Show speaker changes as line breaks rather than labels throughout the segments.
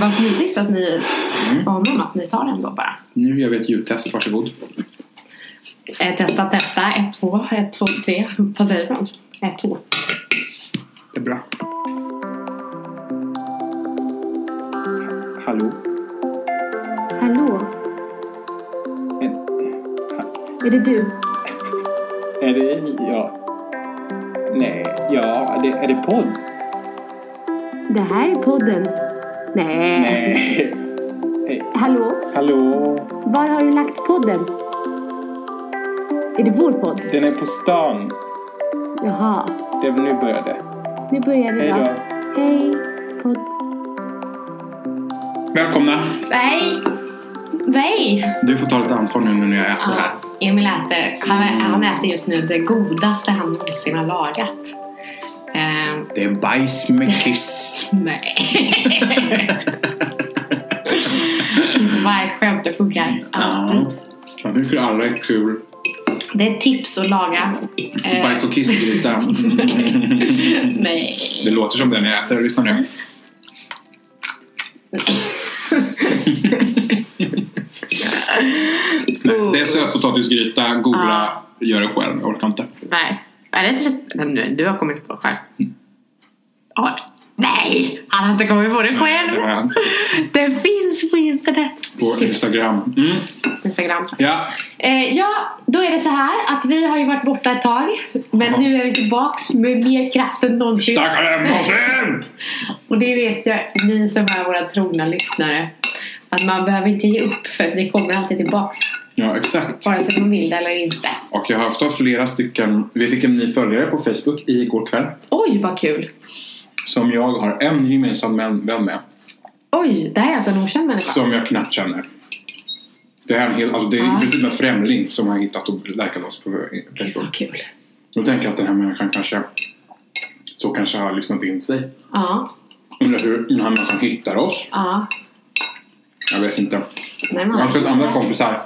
Vad smidigt att ni
Mm.
var honom att ni tar den då bara.
Nu gör vi ett ljudtest, varsågod.
Eh, testa, testa. Ett, två, ett, två, tre. Vad säger man? Ett, två.
Det är bra. Hallå?
Hallå, är det du?
Är det... Ja. Nej. Ja, är det, är det podd?
Det här är podden. Nej.
Nej.
Hallå,
Hallå?
var har du lagt podden? Är det vår podd?
Den är på stan.
Jaha,
Det nu började.
nu börjar det
Hej
va?
då.
Hej, podd.
Välkomna!
Nej! Nej!
Du får ta lite ansvar nu när jag äter
Ja,
här.
Emil äter. Han,
Mm.
han äter just nu det godaste han någonsin har lagat. Eh,
Det är bajs med kiss.
nej. Miss Bajsskämt, det funkar alltid.
Jag tycker alla är kul.
Det är ett tips att laga. Eh,
Bajs och kissgryta.
nej.
Det låter som den jag äter. Lyssna nu. Nej,
Oh.
det är sötpotatisgryta. Googla. Gör det själv. Jag orkar inte.
Nej. Är det inte rest- Men nu, du har kommit på själv. Ja. Nej! Han har inte kommit på det
Det har
själv.
jag inte.
Det finns på internet.
På Instagram. Mm.
Instagram.
Ja.
Eh, ja, då är det så här att vi har ju varit borta ett tag. Men
Ja.
nu är vi tillbaks med mer kraft än någonsin.
Starkare än någonsin!
Och det vet jag, ni som är våra trogna lyssnare. Att man behöver inte ge upp för att vi kommer alltid tillbaks.
Ja, exakt.
Vare sig man vill det eller inte.
Och jag har haft flera stycken. Vi fick en ny följare på Facebook igår kväll.
Oj, vad kul!
Som jag har en gemensam vän vän med.
Oj, det här är alltså en okänd människa.
Som jag knappt känner. Det, här är en hel, alltså det är
Ja.
i princip en främling som har hittat och likat oss på Facebook.
Vad kul.
Då tänker jag att den här människan kanske så kanske har lyssnat in sig.
Ja,
Undrar hur den här människan hittar oss.
ja.
Jag vet inte.
Nej,
Jag har
man.
sett andra kompisar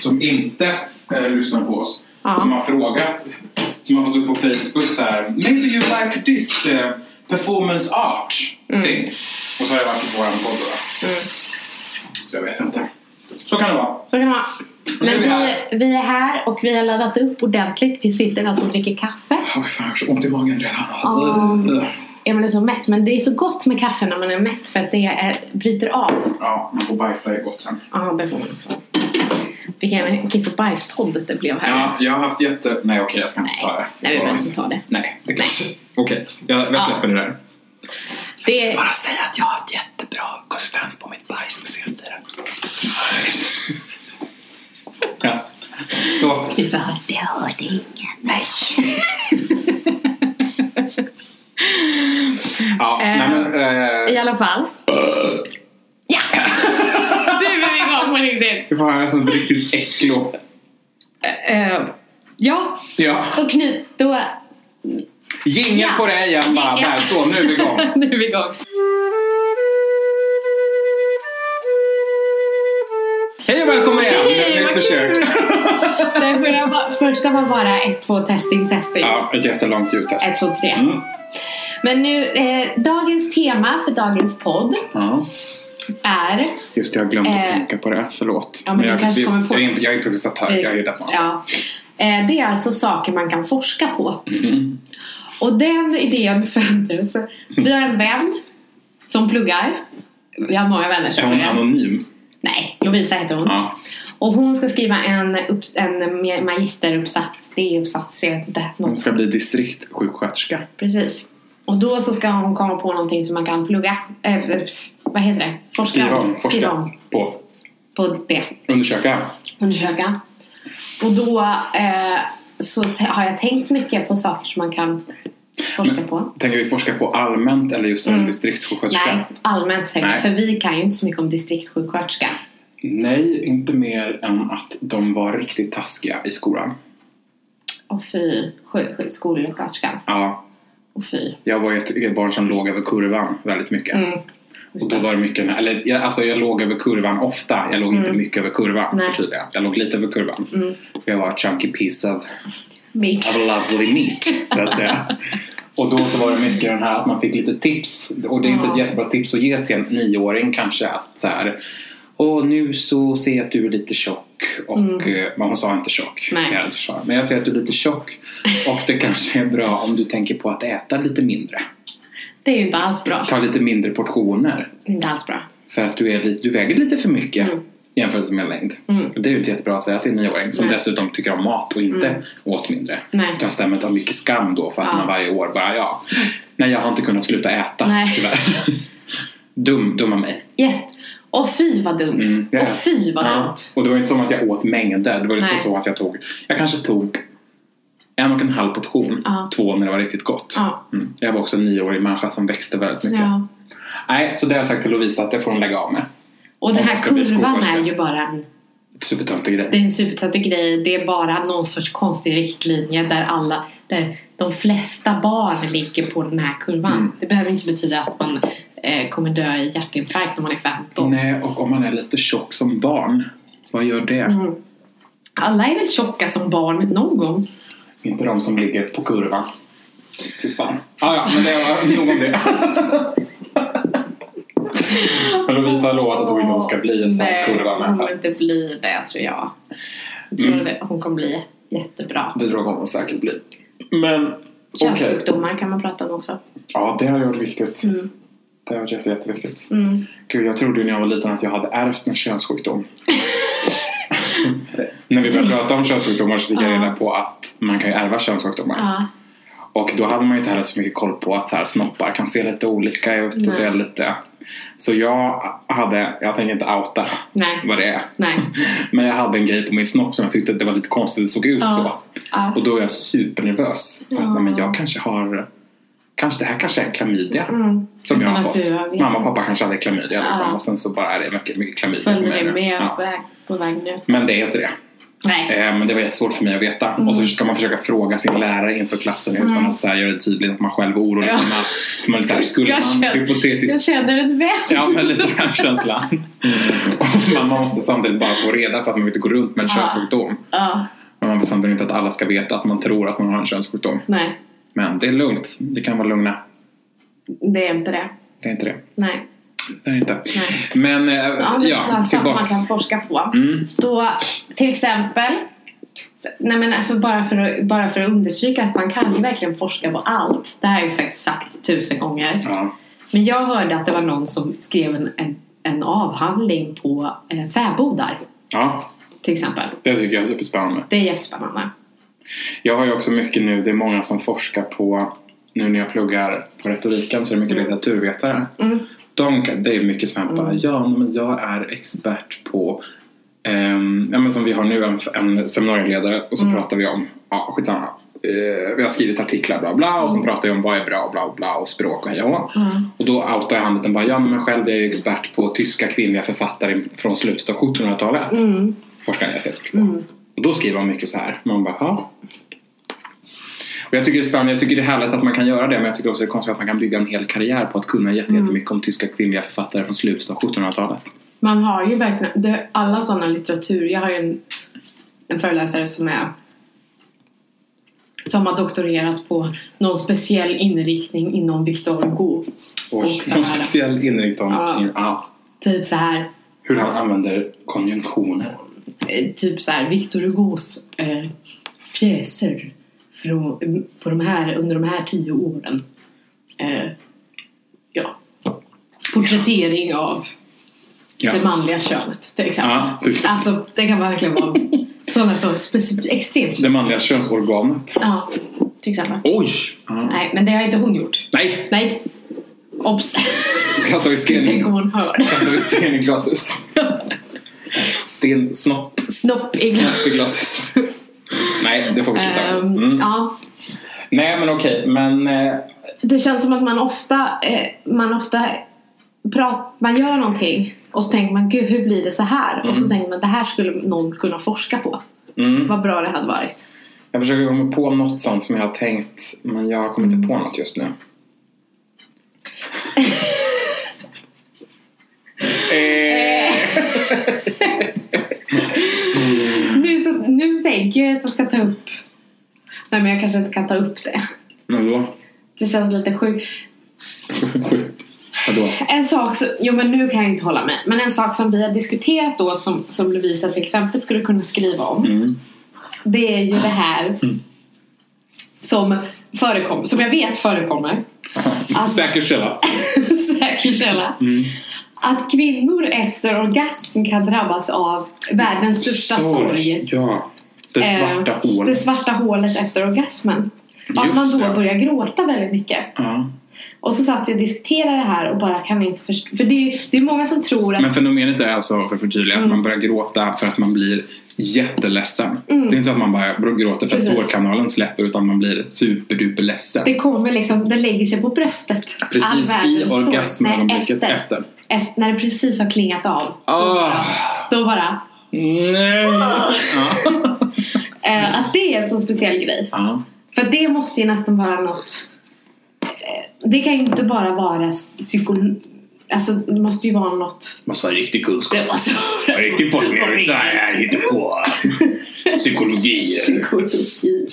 som inte eh, lyssnar på oss.
Ja.
Som har frågat. Som har fått upp på Facebook så här. Maybe you like this eh, performance art thing. Och så har jag varit på våran podd då.
Mm.
Så jag vet inte. Så kan det vara.
Så kan det vara.
Nu är
Men
vi
vi,
här.
vi är här och vi har laddat upp ordentligt. Vi sitter alltså och dricker kaffe.
Åh, fan, jag har så ont i magen redan.
Åh. Emil är så mätt, men det är så gott med kaffe när man är mätt för att det är, bryter av.
Ja, man får bajsa i gott sen.
Ja, det får man också. Vilken kiss och bajspodd det blev här.
Ja, jag har haft jätte... Nej, okej, jag ska inte ta det.
Nej, vi
Så
behöver
långt.
inte ta det.
Nej, det kanske... Okej, jag, jag
Ja.
släpper det där.
Det är,
Bara säga att jag har haft jättebra konsistens på mitt bajs den senaste tiden. ja. Så.
du hörde, det hörde ingen. Nej.
Ja, nej men... Eh,
I alla fall. Ja! Nu är vi igång på riktigt.
det var en sån riktigt äcklo.
Eh, ja,
Ja.
då knyt... Då
Jingel
Ja.
på det igen bara.
Ja.
Där, så. Nu är vi igång.
nu är vi igång.
Hej och välkommen igen!
Hej,
Nytt
vad
försök.
Den förra var, första var bara ett, två, testing, testing.
Ja, ett jättelångt ljudtest.
Ett, två, tre.
Mm.
Men nu, eh, dagens tema för dagens podd
Ja.
är...
Just det, jag glömde
Eh,
att tänka på det. Förlåt.
ja, men du
jag,
kanske
vi-
kommer på
jag, är
det.
inte, jag är improvisatör. Jag hittar på något.
ja, eh, Det är alltså saker man kan forska på.
Mhm.
Och den idén föddes. Vi har en vän som pluggar. Vi har många vänner som
Är hon
pluggar.
anonym?
Nej, Lovisa heter hon.
Ja.
Och hon ska skriva en, upp, en magisteruppsats, D-uppsats, jag vet inte.
Hon
Något
ska bli distriktsjuksköterska.
Precis. Och då så ska hon komma på någonting som man kan plugga. Eh, ups, vad heter det? Forska
Skriva om. Forska
Skriva om.
på.
På det.
Undersöka.
Undersöka. Och då eh, så t- har jag tänkt mycket på saker som man kan forska på.
Tänker vi forska på allmänt eller just som
Mm.
en distriktssjuksköterska?
Nej, allmänt tänker jag.
Nej.
För vi kan ju inte så mycket om distriktssjuksköterska.
Nej, inte mer än att de var riktigt taskiga i skolan.
Och fy, sju- sju- skolsköterskan.
Ja,
Och fy.
jag var ett, ett barn som låg över kurvan väldigt mycket.
Mm.
Och
Just
då
det.
var det mycket, eller jag, alltså jag låg över kurvan ofta. Jag låg inte mycket över kurvan
Mm. Nej. Mm.
för tydliga. Jag låg lite över kurvan. Jag var a chunky piece of,
Mitt.
of lovely meat. så att säga. Och då så var det mycket den här att man fick lite tips. Och det är inte ett
Ja.
jättebra tips att ge till en nioåring kanske att så här. Och nu så ser jag att du är lite tjock. Och, eh, men hon sa inte tjock.
Mm. Nej.
i hennes försvar. Men jag ser att du är lite tjock. Och det kanske är bra om du tänker på att äta lite mindre.
Det är ju inte alls bra.
Ta lite mindre portioner.
Inte alls bra.
För att du, är lite, du väger lite för mycket
Mm.
jämfört med längd.
Mm.
Och det är ju inte jättebra att säga till en nioåring som
Nej. Mm.
dessutom tycker om mat och inte åt mindre.
Nej.
Utan stämmet har mycket skam då för att
Ja.
man varje år bara ja, nej jag har inte kunnat sluta äta
Nej.
tyvärr. Dum, dum av mig.
Yeah. Och fy vad dumt.
Mm, ja, ja.
Och fy vad
Ja.
dumt.
Och det var ju inte som att jag åt mängder. Det var ju inte
Nej.
så att jag tog, jag kanske tog en och en halv portion,
Ja.
två när det var riktigt gott.
Ja.
Mm. Jag var också en nioårig människa som växte väldigt mycket.
Ja.
Nej, så det har jag sagt till Lovisa att det får hon lägga av med.
Och den
Om man
här
ska bli
kurvan
skolforskare.
är ju bara en,
Supertöntig grej.
det är en supertöntig grej. Det är bara någon sorts konstig riktlinje där alla, där de flesta barn ligger på den här kurvan.
Mm.
Det behöver inte betyda att man eh, kommer dö i hjärtinfarkt när man är 15.
Nej, och om man är lite tjock som barn, vad gör det?
Mm. Alla är väl tjocka som barn någon gång?
Inte de som ligger på kurvan. Fy fan. Ah, ja, men det var nog om det. Men Lovisa har lovat att hon inte ska bli en sån här
Nej, hon kommer
kurvamänniska.
inte bli det tror jag. Jag tror
Mm.
det, hon kommer bli jä- jättebra.
Det tror jag hon säkert bli. Men okej.
Könssjukdomar kan man prata om också.
Ja, det har varit viktigt.
Mm.
Det har varit jätte, jätteviktigt.
Mm.
Gud, jag trodde ju när jag var liten att jag hade ärvt en könssjukdom. när vi började prata om könssjukdomar så fick jag
Ja.
reda på att man kan ju ärva könssjukdomar.
Ja.
Och då hade man ju inte heller så mycket koll på att så här, snoppar kan se lite olika ut och
Nej.
det är lite... Så jag hade, jag tänker inte outa
Nej.
vad det är.
Nej.
Men jag hade en grej på min snopp som jag tyckte att det var lite konstigt, det såg ut
Ja.
så.
Ja.
Och då är jag supernervös. För att
Ja.
men jag kanske har, kanske, det här kanske är klamydia.
Mm.
Som
Utan
jag har
att
fått.
du har vetat.
Mamma och pappa kanske hade klamydia liksom.
Ja.
Och sen så bara är det mycket, mycket klamydia. på
Följde
mig
det
nu.
med på,
Ja.
väg, på väg nu?
Men det är inte det.
Nej.
Eh, Men det var jättesvårt för mig att veta. Och
Mm.
så ska man försöka fråga sin lärare inför klassen utan att så här, göra det tydligt att man själv är orolig.
Ja.
Man, man, så här, skulle
Jag
man
känner- Jag
hypotetiskt...
känner ett vett.
Ja, men lite den här känslan. Och man måste samtidigt bara få reda för att man inte går runt med en
Ja.
könssjukdom.
Ja.
Men man vill samtidigt inte att alla ska veta att man tror att man har en könssjukdom.
Nej,
Men det är lugnt. Det kan vara lugna.
det är inte det.
Det är inte det.
Nej.
Det är inte.
Nej.
Men, eh,
Ja,
ja,
men ja, saker man
tillbaks.
kan forska på.
Mm.
Då, till exempel, så- nej men alltså bara, för att, bara för att understryka att man kan ju verkligen forska på allt. Det här har jag sagt, sagt tusen gånger.
Ja.
Men jag hörde att det var någon som skrev en, en, en avhandling på eh, fäbodar
ja,
till exempel.
det tycker jag är superspännande.
Det är jättespännande.
Jag har ju också mycket nu, det är många som forskar på, nu när jag pluggar på retoriken så är det mycket litteraturvetare.
Mm.
De, kan- det är mycket sånt här bara, ja nej, men jag är expert på, ehm, ja, men som vi har nu en, en seminarieledare och så
Mm.
pratar vi om, ja skitsamma, eh, vi har skrivit artiklar bla bla
Mm.
och så pratar vi om vad är bra och bla bla och språk och hej och hå. Och då outar jag han lite bara, ja men själv är jag ju expert på tyska kvinnliga författare från slutet av 1700-talet.
Mm.
Forskar jag till.
Mm.
Och då skriver man mycket så här. Man bara, ja. Och jag tycker det är spännande, jag tycker det är härligt att man kan göra det men jag tycker också det är konstigt att man kan bygga en hel karriär på att kunna jätte- jättemycket om tyska kvinnliga författare från slutet av 1700-talet.
Man har ju verkligen, det, alla sådana litteratur, jag har ju en, en föreläsare som är som har doktorerat på någon speciell inriktning inom Victor Hugo.
Och
så
någon
här.
speciell inriktning om
Ja.
ja,
Typ så här,
hur han använder konjunktioner.
eh, typ så här Victor Hugos eh, pjäser från, på de här, under de här tio åren. Eh, ja. Porträttering av
Ja.
det manliga könet till exempel.
Ja, precis.
alltså det kan verkligen vara sådana som specif- extremt
det manliga könsorganet.
Ja, till exempel.
Oj! Ja.
Nej, men det har inte hon gjort.
Nej!
Nej. Obs!
Då kastar vi sten
Tänk om
i,
hon hör.
kastar vi sten i glashus. Sten, snopp,
Snopp i glas.
snopp i glashus. Nej, det får vi sluta med.
Ehm,
mm.
Ja,
Nej men okej, men eh,
det känns som att man ofta, eh, man ofta pratar, man gör någonting och så tänker man gud hur blir det så här? Och så tänker man det här skulle någon kunna forska på.
mm.
Vad bra det hade varit.
Jag försöker komma på något sånt som jag har tänkt men jag kommer
Mm.
inte på något just nu. eh,
Nu, så, nu tänker jag att jag ska ta upp Nej men jag kanske inte kan ta upp det.
men då?
Det känns lite sjukt.
Vadå?
En sak som, jo men nu kan jag inte hålla med. Men en sak som vi har diskuterat då som, som Lovisa till exempel skulle kunna skriva om.
Mm.
Det är ju det här
Mm.
som förekommer, som jag vet förekommer. Alltså-
Säker källa.
Säker källa.
Mm.
Att kvinnor efter orgasm kan drabbas av världens största sorg.
Ja. Det svarta
Eh,
hålet.
Det svarta hålet efter orgasmen. Och att
Just
man då
det.
börjar gråta väldigt mycket.
Ja.
Och så satt vi och diskuterade det här och bara kan inte förstå. För det är ju det är många som tror att
Men fenomenet är alltså, för att förtydliga,
Mm.
att man börjar gråta för att man blir jätteledsen. Det är inte så att man bara gråter för att
Mm. Precis.
tårkanalen släpper utan man blir superduper ledsen.
det kommer liksom, det lägger sig på bröstet.
Precis
All
i
världens sorg.
orgasmögonblicket
Nej,
efter.
Ef- när det precis har klingat av.
Ah.
Då bara.
Nej!
Ah.
Ja.
Eh, att det är en sån speciell grej.
Ja.
För det måste ju nästan vara något. Eh, det kan ju inte bara vara psyko... Alltså det måste ju vara något.
Måste ha riktig
Det
kunskap.
måste vara.
Riktig forskning. Så här hittar på. Psykologi.
Psykologi.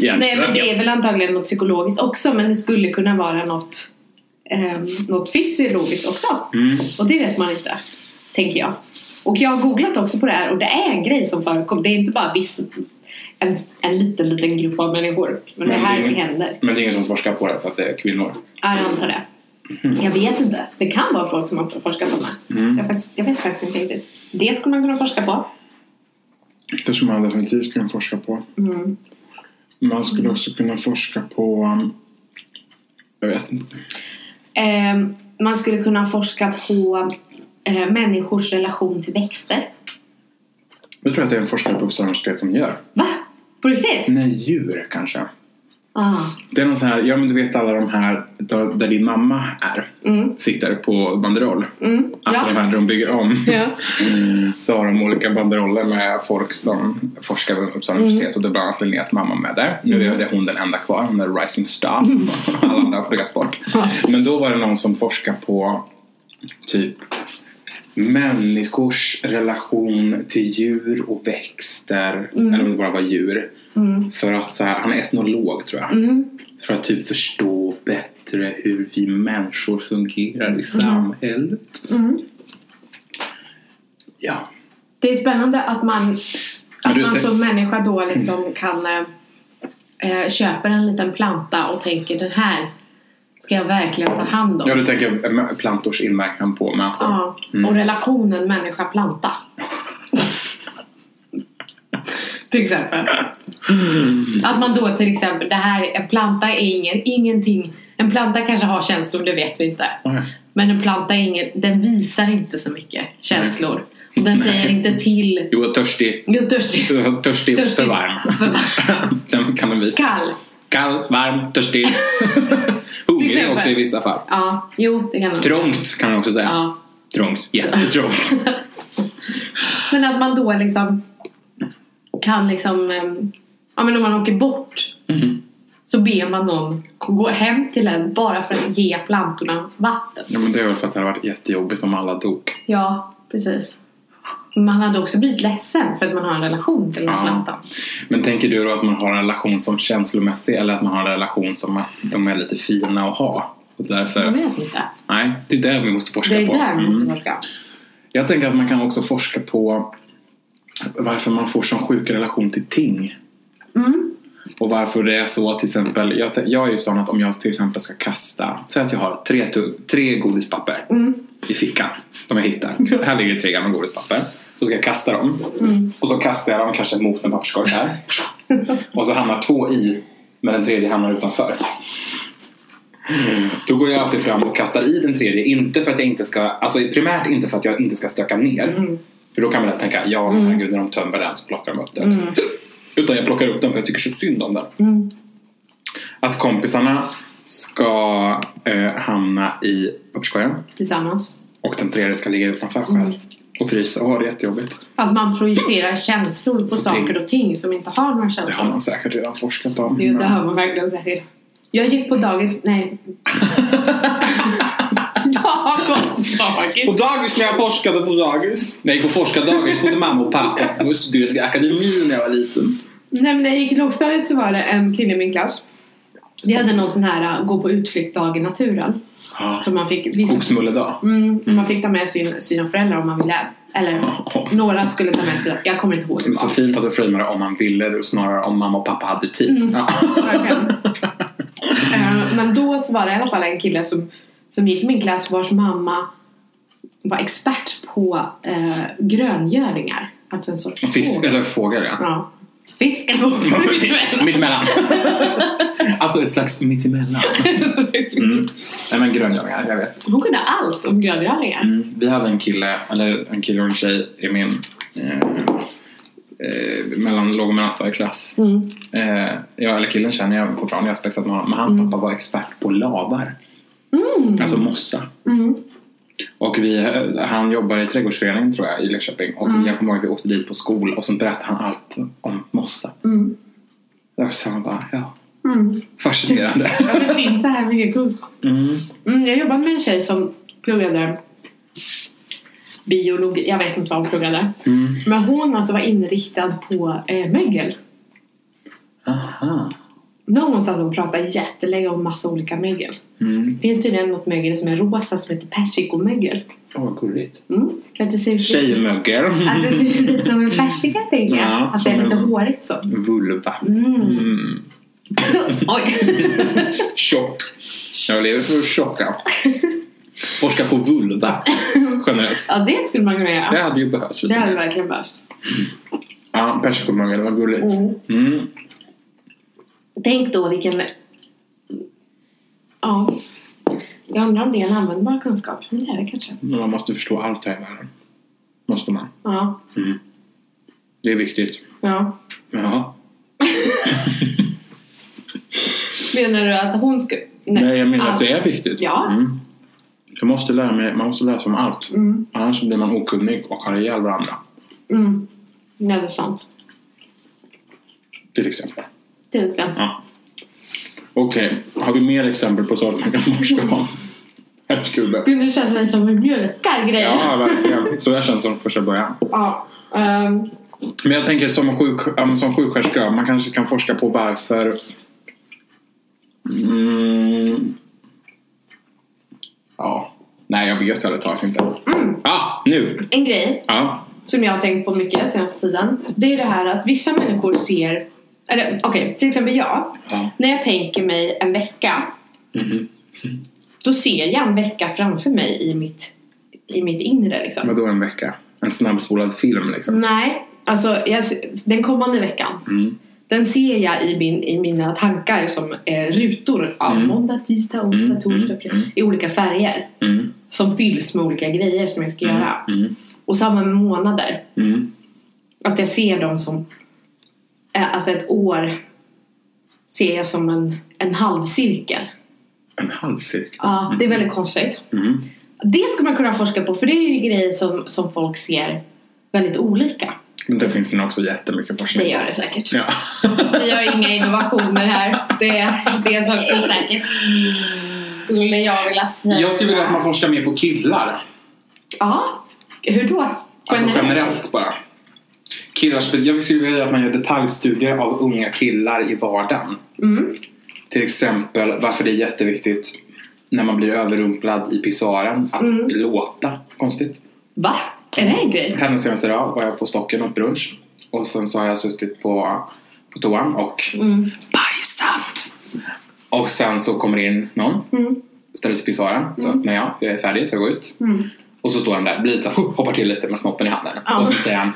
Nej men det är väl antagligen något psykologiskt också men det skulle kunna vara något, ehm, något fysiologiskt också.
Mm.
Och det vet man inte, tänker jag. Och jag har googlat också på det här och det är en grej som förekommer. Det är inte bara viss, en, en liten, liten grupp av människor. Men,
Men
det här
det är ju-
händer.
Men det är ingen som forskar på det för att det är kvinnor.
Ja, jag antar det. Jag vet inte. Det kan vara folk som har forskat på det. Jag, faktiskt, jag vet faktiskt inte riktigt. Det skulle man kunna forska på.
Det som man definitivt kan forska på.
Mm.
Man skulle också kunna forska på... um, Jag vet inte.
Ehm, man skulle kunna forska på eh, människors relation till växter.
Jag tror att det är en forskare på Uppsala universitet som gör.
Va? På riktigt?
Nej, djur kanske.
Ah.
Det är någon sån här, ja men du vet alla de här där, där din mamma är.
Mm.
Sitter på banderoll.
Mm.
Alltså de
ja.
här där de bygger om.
Ja.
Så har de olika banderoller med folk som forskar vid Uppsala universitet. Och det är bland annat Linneas mamma med där. Nu är det hon den enda kvar. Hon är rising star. alla andra har flugats bort. Men då var det någon som forskar på typ människors relation till djur och växter. Eller om det bara var djur. För att så här, han är etnolog tror jag. För att typ förstå bättre hur vi människor fungerar i samhället. Ja.
Det är spännande att man,
Ja,
att
du
man
tänk-
som människa då liksom kan eh, eh, köper en liten planta och tänker den här ska jag verkligen ta hand om.
Ja, du tänker eh, plantors inverkan på människor.
Ja. Och relationen människa-planta. till exempel. Att man då till exempel, det här, en planta är ingen, ingenting. En planta kanske har känslor, det vet vi inte.
Okej.
Men en planta är ingen, den visar inte så mycket känslor. Och den säger inte till.
Du är törstig.
Jo, törstig.
Du är törstig,
Törstig.
för varm.
För varm.
Den kan de visa.
Kall.
Kall, varm, törstig. Hungrig
exempel.
också i vissa fall.
Ja, jo det kan man.
Trångt kan man också säga.
Ja.
Trångt. Jättetrångt.
Men att man då liksom kan liksom, ehm, ja men om man åker bort
Mhm.
så ber man någon gå hem till en bara för att ge plantorna vatten.
Ja, men det är väl för att det hade varit jättejobbigt om alla dog.
Ja, precis. Men Man hade också blivit ledsen för att man har en relation till den här
Ja.
plantan.
Men tänker du då att man har en relation som känslomässig eller att man har en relation som att de är lite fina att ha? Och därför,
Jag vet inte.
nej, det är där vi måste forska
Det är
på.
där man måste
Mm.
forska.
Jag tänker att man kan också forska på varför man får sån sjuk relation till ting.
Mm.
Och varför det är så till exempel, jag, te- jag är ju sån att om jag till exempel ska kasta, säg att jag har tre, tu- tre godispapper i fickan, de jag hittar. här ligger tre gamla godispapper. Så ska jag kasta dem. Och så kastar jag dem kanske mot en papperskorg här. Och så hamnar två i, men den tredje hamnar utanför. Då går jag alltid fram och kastar i den tredje. Inte för att jag inte ska, alltså primärt inte för att jag inte ska stöka ner.
Mm.
För då kan man lätt tänka, ja men herregud när de tömmer den så plockar de upp den.
Mm.
Utan jag plockar upp den för jag tycker så synd om den. Att kompisarna ska eh, hamna i papperskorgen
Tillsammans.
och den tredje ska ligga utanför själv.
Mm.
Och frysa och ha det jättejobbigt.
Att man projicerar känslor på saker och ting som inte har några
Det
känslor.
har man säkert redan forskat om.
Jo, det
men-
hör man verkligen säkert. Jag gick på dagis... Nej. jag har gått på
På
dagis.
dagis när jag forskade på dagis. När jag gick på forskardagis bodde mamma och pappa. Jag studerade vid akademin när jag var liten.
Nej, men när jag gick i lågstadiet så var det en kille i min klass Vi hade någon sån här äh, gå på utflyktdag i naturen.
Ja.
Som man fick, vissa,
Skogsmulledag.
mm, man fick ta med sin, sina föräldrar om man ville. Eller några skulle ta med sina, jag kommer inte ihåg
Det är
hur
så
det
fint att du framar det om man ville och snarare om mamma och pappa hade tid.
Mm.
Ja.
var. Verkligen. Eh, Men då så var det i alla fall en kille som, som gick i min klass vars mamma var expert på eh, gröngölingar. Alltså en sorts
Fisk,
fågel.
eller fågel ja.
Ja. Fisk eller fågel.
Mittemellan. alltså ett slags mittemellan. Mm. Nej men gröngölingar, jag vet.
typ- Hon kunde allt om gröngölingar.
Mm. Vi hade en kille, eller en kille och en tjej i min eh, eh, mellan låg och mellanstadieklass.
Mm.
Eh, jag, eller killen känner jag fortfarande, jag har spexat med honom. Men hans
Mm.
pappa var expert på lavar. Alltså mossa.
Mm.
Och vi, han jobbar i trädgårdsföreningen tror jag i Linköping. Och
Mm.
jag kommer ihåg att vi åkte dit på skol och så berättade han allt om mossa.
Mm.
Jag sa man bara, ja,
Mm.
fascinerande.
Ja, det finns så här mycket kunskap.
Mm.
Mm, jag jobbade med en tjej som pluggade biologi. Jag vet inte vad hon pluggade.
Mm.
Men hon alltså var inriktad på eh, mögel.
Aha.
Någonstans hon pratade jättelänge om massa olika mögel.
Mm.
Det finns tydligen något mögel som är rosa som heter persikomögel.
Åh, vad gulligt.
Mm. För Att det ser ut
Tjejmögel.
Att det ser ut lite som en persika tänker jag.
Ja,
att det är
som
lite
en-
hårigt så.
Vulva.
Mm.
Mm.
Oj.
Tjock. Jag lever för tjocka. Forska på vulva. Generellt.
Ja, det skulle man kunna göra.
Det hade ju behövts
Det
lite
hade
mer.
verkligen behövts.
Ja, persikomögel, vad gulligt.
Mm.
Mm.
Tänk då vilken... Ja. Jag undrar om det är en användbar kunskap. Men det är det kanske.
Men Man måste förstå allt här i världen. Måste man.
Ja.
Det är viktigt.
ja.
Jaha.
Menar du att hon ska...
Nej, jag menar
Ja.
att det är viktigt.
Ja.
Mm. Jag måste lära mig, man måste lära sig om allt.
Mm.
Annars blir man okunnig och har ihjäl varandra.
Mm. Ja, det är sant.
Till exempel.
Till exempel.
Ja. Okej, har vi mer exempel på sådant man kan forska om? Herregud.
Gud, nu känns det lite som vi mjölkar grejer.
Ja, verkligen. Så jag känner som första början.
ja. Ehm,
Men jag tänker som, sjuk, ja, men som sjuksköterska, man kanske kan forska på varför... Mm, ja. Nej, jag vet ärligt talat inte. Ah, nu!
en grej
Ja.
som jag har tänkt på mycket senaste tiden. Det är det här att vissa människor ser, eller okej, till exempel jag.
Ja. Mm-hmm.
När jag tänker mig en vecka. Då ser jag en vecka framför mig i mitt, i mitt inre liksom.
Vadå en vecka? En snabbspolad film liksom?
Nej, alltså jag, den kommande veckan.
Mm.
Den ser jag i, min, i mina tankar som eh, rutor av
Mm.
måndag, tisdag, onsdag,
Mm,
torsdag,
mm,
fredag.
mm.
I olika färger.
Mm.
Som fylls med olika grejer som jag ska
Mm.
göra.
Mm.
Och samma med månader.
Mm.
Att jag ser dem som... eh, Alltså ett år ser jag som en, en halvcirkel.
En halvcirkel?
Ja, det är väldigt konstigt.
Mm.
Det skulle man kunna forska på för det är ju grejer som, som folk ser väldigt olika.
Men Det finns nog också jättemycket forskning
Det gör det säkert.
Ja.
Vi gör inga innovationer här. Det, det är så också säkert. Skulle jag vilja säga.
Jag skulle vilja att man forskar mer på killar.
Ja, hur då?
Alltså generellt bara. Killar, spe- jag skulle vilja att man gör detaljstudier av unga killar i vardagen.
Mm.
Till exempel varför det är jätteviktigt när man blir överrumplad i pissoaren att
Mm.
låta konstigt.
Va? Är det en grej?
Här nu senast idag var jag på Stocken åt brunch och sen så har jag suttit på, på toan och
Mm.
bajsat. Och sen så kommer in någon,
Mm.
ställer sig i pissoaren, så öppnar jag för jag är färdig så jag går ut.
Mm.
Och så står han där, blir lite så, här, hoppar till lite med snoppen i handen.
Ja.
Och så säger han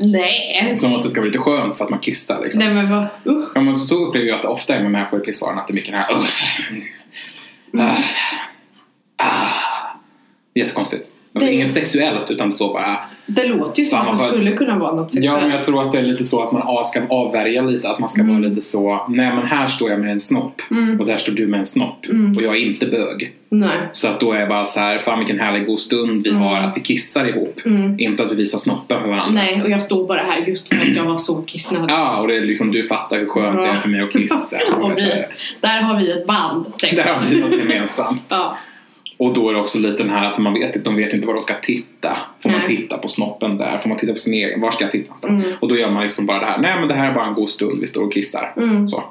Nej.
som att det ska vara lite skönt för att man kissar liksom.
Nej men vad? Usch.
Ja, men så upplever jag att det ofta är med människor i pissoaren att det är mycket den här "Ugh."
Mm.
Ah. Ah. Det är jättekonstigt. Alltså,
Det-
inget sexuellt utan så bara
Det låter ju som
Fan,
att det
vad skönt.
skulle kunna vara något
Ja, men
sexuellt.
jag tror att det är lite så att man av- ska avvärja lite. Att man ska
Mm.
vara lite så, nej men här står jag med en snopp och där står du med en snopp
Mm.
och jag är inte bög.
Nej.
Så att då är jag bara så här, fan vilken härlig god stund
Mm.
vi har att vi kissar ihop. Inte att vi visar snoppen för varandra.
Nej, och jag står bara här just för att jag var så kissnödig.
Ja, och det är liksom du fattar hur skönt det är för mig att kissa.
och
Och så
vi,
här,
där har vi ett band. tänker
Där
jag.
har vi något gemensamt.
Ja.
Och då är det också lite den här, för man vet inte, de vet inte var de ska titta. Får man
Nej. Mm.
titta på snoppen där? Får man titta på sin
Mm.
egen? Var ska jag titta någonstans? Och då gör man liksom bara det här, nej men det här är bara en god stund, vi står och kissar. Så.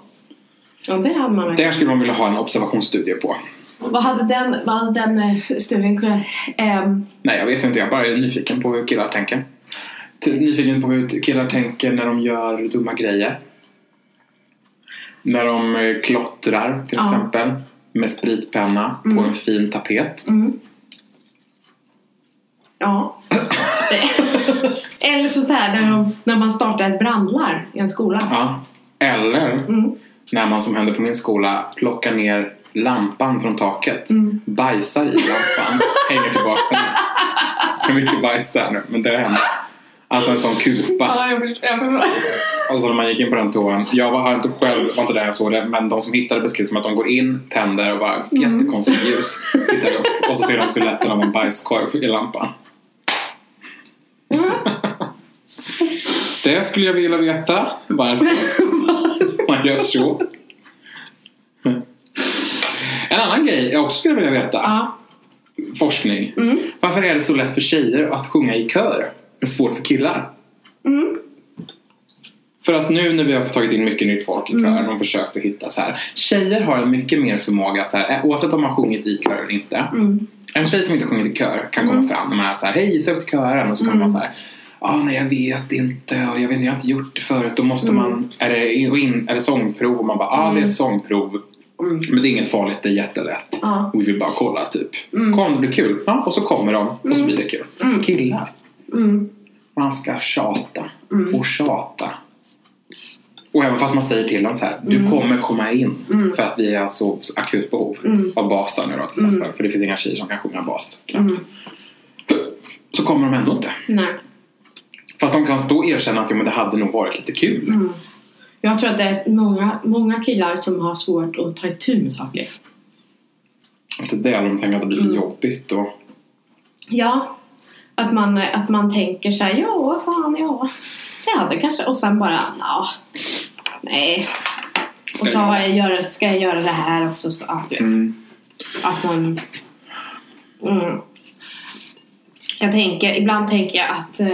Ja, det hade man verkligen.
Där skulle man vilja ha en observationsstudie på.
Vad hade den, vad hade den eh, studien kunnat... ehm,
Nej, jag vet inte. Jag bara är nyfiken på hur killar tänker. Ty- Nyfiken på hur killar tänker när de gör dumma grejer. När de eh, klottrar till
Ja.
exempel med spritpenna
Mm.
på en fin tapet.
Mm. Ja. Eller sådär när, de, när man startar ett brandlarm i en skola.
Ja. Eller
Mm.
när man som hände på min skola plockar ner lampan från taket,
Mm.
bajsar i lampan, hänger tillbaka den. För mycket bajs där nu, men det har hänt. Alltså en sån kupa.
Ja, jag förstår. Jag förstår.
Och så Alltså, när man gick in på den toan, jag var, har inte själv, var inte där jag såg det, men de som hittade beskrivs som att de går in, tänder och bara jättekonstigt ljus. Tittar upp och så ser de siluetten av en bajskorv i lampan. Det skulle jag vilja veta, varför man gör så. En annan grej jag också skulle vilja veta.
Ja.
Forskning. Varför är det så lätt för tjejer att sjunga i kör? Men svårt för killar?
Mm.
För att nu när vi har tagit in mycket nytt folk i
Mm.
kören och försökt att hitta så här. Tjejer har en mycket mer förmåga att så här, eh, oavsett om man sjungit i kör eller inte.
Mm.
En tjej som inte sjungit i kör kan komma fram när man är så här, hej sök till kören och så kan
Mm.
man vara så här. Ja, nej jag vet inte och jag vet inte, jag har inte gjort det förut. Då måste
Mm.
man, är det, in, och in, är det sångprov? Och man bara, ja ah, det är ett sångprov.
Mm.
Men det är inget farligt, det är jättelätt.
Ja. Mm.
Vi vill bara kolla typ. Kom, det blir kul. Ja, och så kommer de och så blir det kul. Killar.
Mm.
Man ska tjata och tjata. Och även fast man säger till dem så här, du kommer komma in för att vi har så så akut behov av basar nu då till exempel. För det finns inga tjejer som kan sjunga bas knappt. Så kommer de ändå inte.
Nej.
Fast de kan då erkänna att jo, men det hade nog varit lite kul.
Jag tror att det är många, många killar som har svårt att ta itu med saker.
Att det är det de tänker att det blir för jobbigt. Och,
Ja, att man, att man tänker så här, ja, vad fan, ja. Det hade kanske, och sen bara, ja, nej. Och så
jag
har jag göra, ska jag göra det här också, så, ja, du vet.
Mm.
Att man... Mm. Jag tänker, ibland tänker jag att eh,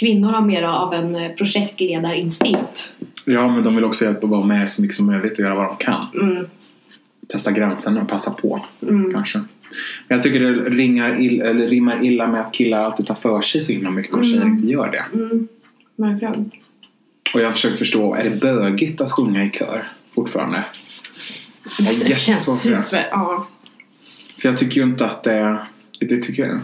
kvinnor har mer av en eh, projektledarinstinkt.
Ja, men de vill också hjälpa att vara med så mycket som möjligt och göra vad de kan.
Mm.
testa gränserna och passa på.
Mm.
Kanske. Men jag tycker det ringar ill, eller rimmar illa med att killar alltid tar för sig så himla mycket och tjejer inte gör det.
Mm. Verkligen.
Och jag har försökt förstå, är det bögigt att sjunga i kör fortfarande? Jag är
Det känns
jättesvår för det.
super, ja.
För jag tycker ju inte att det det tycker jag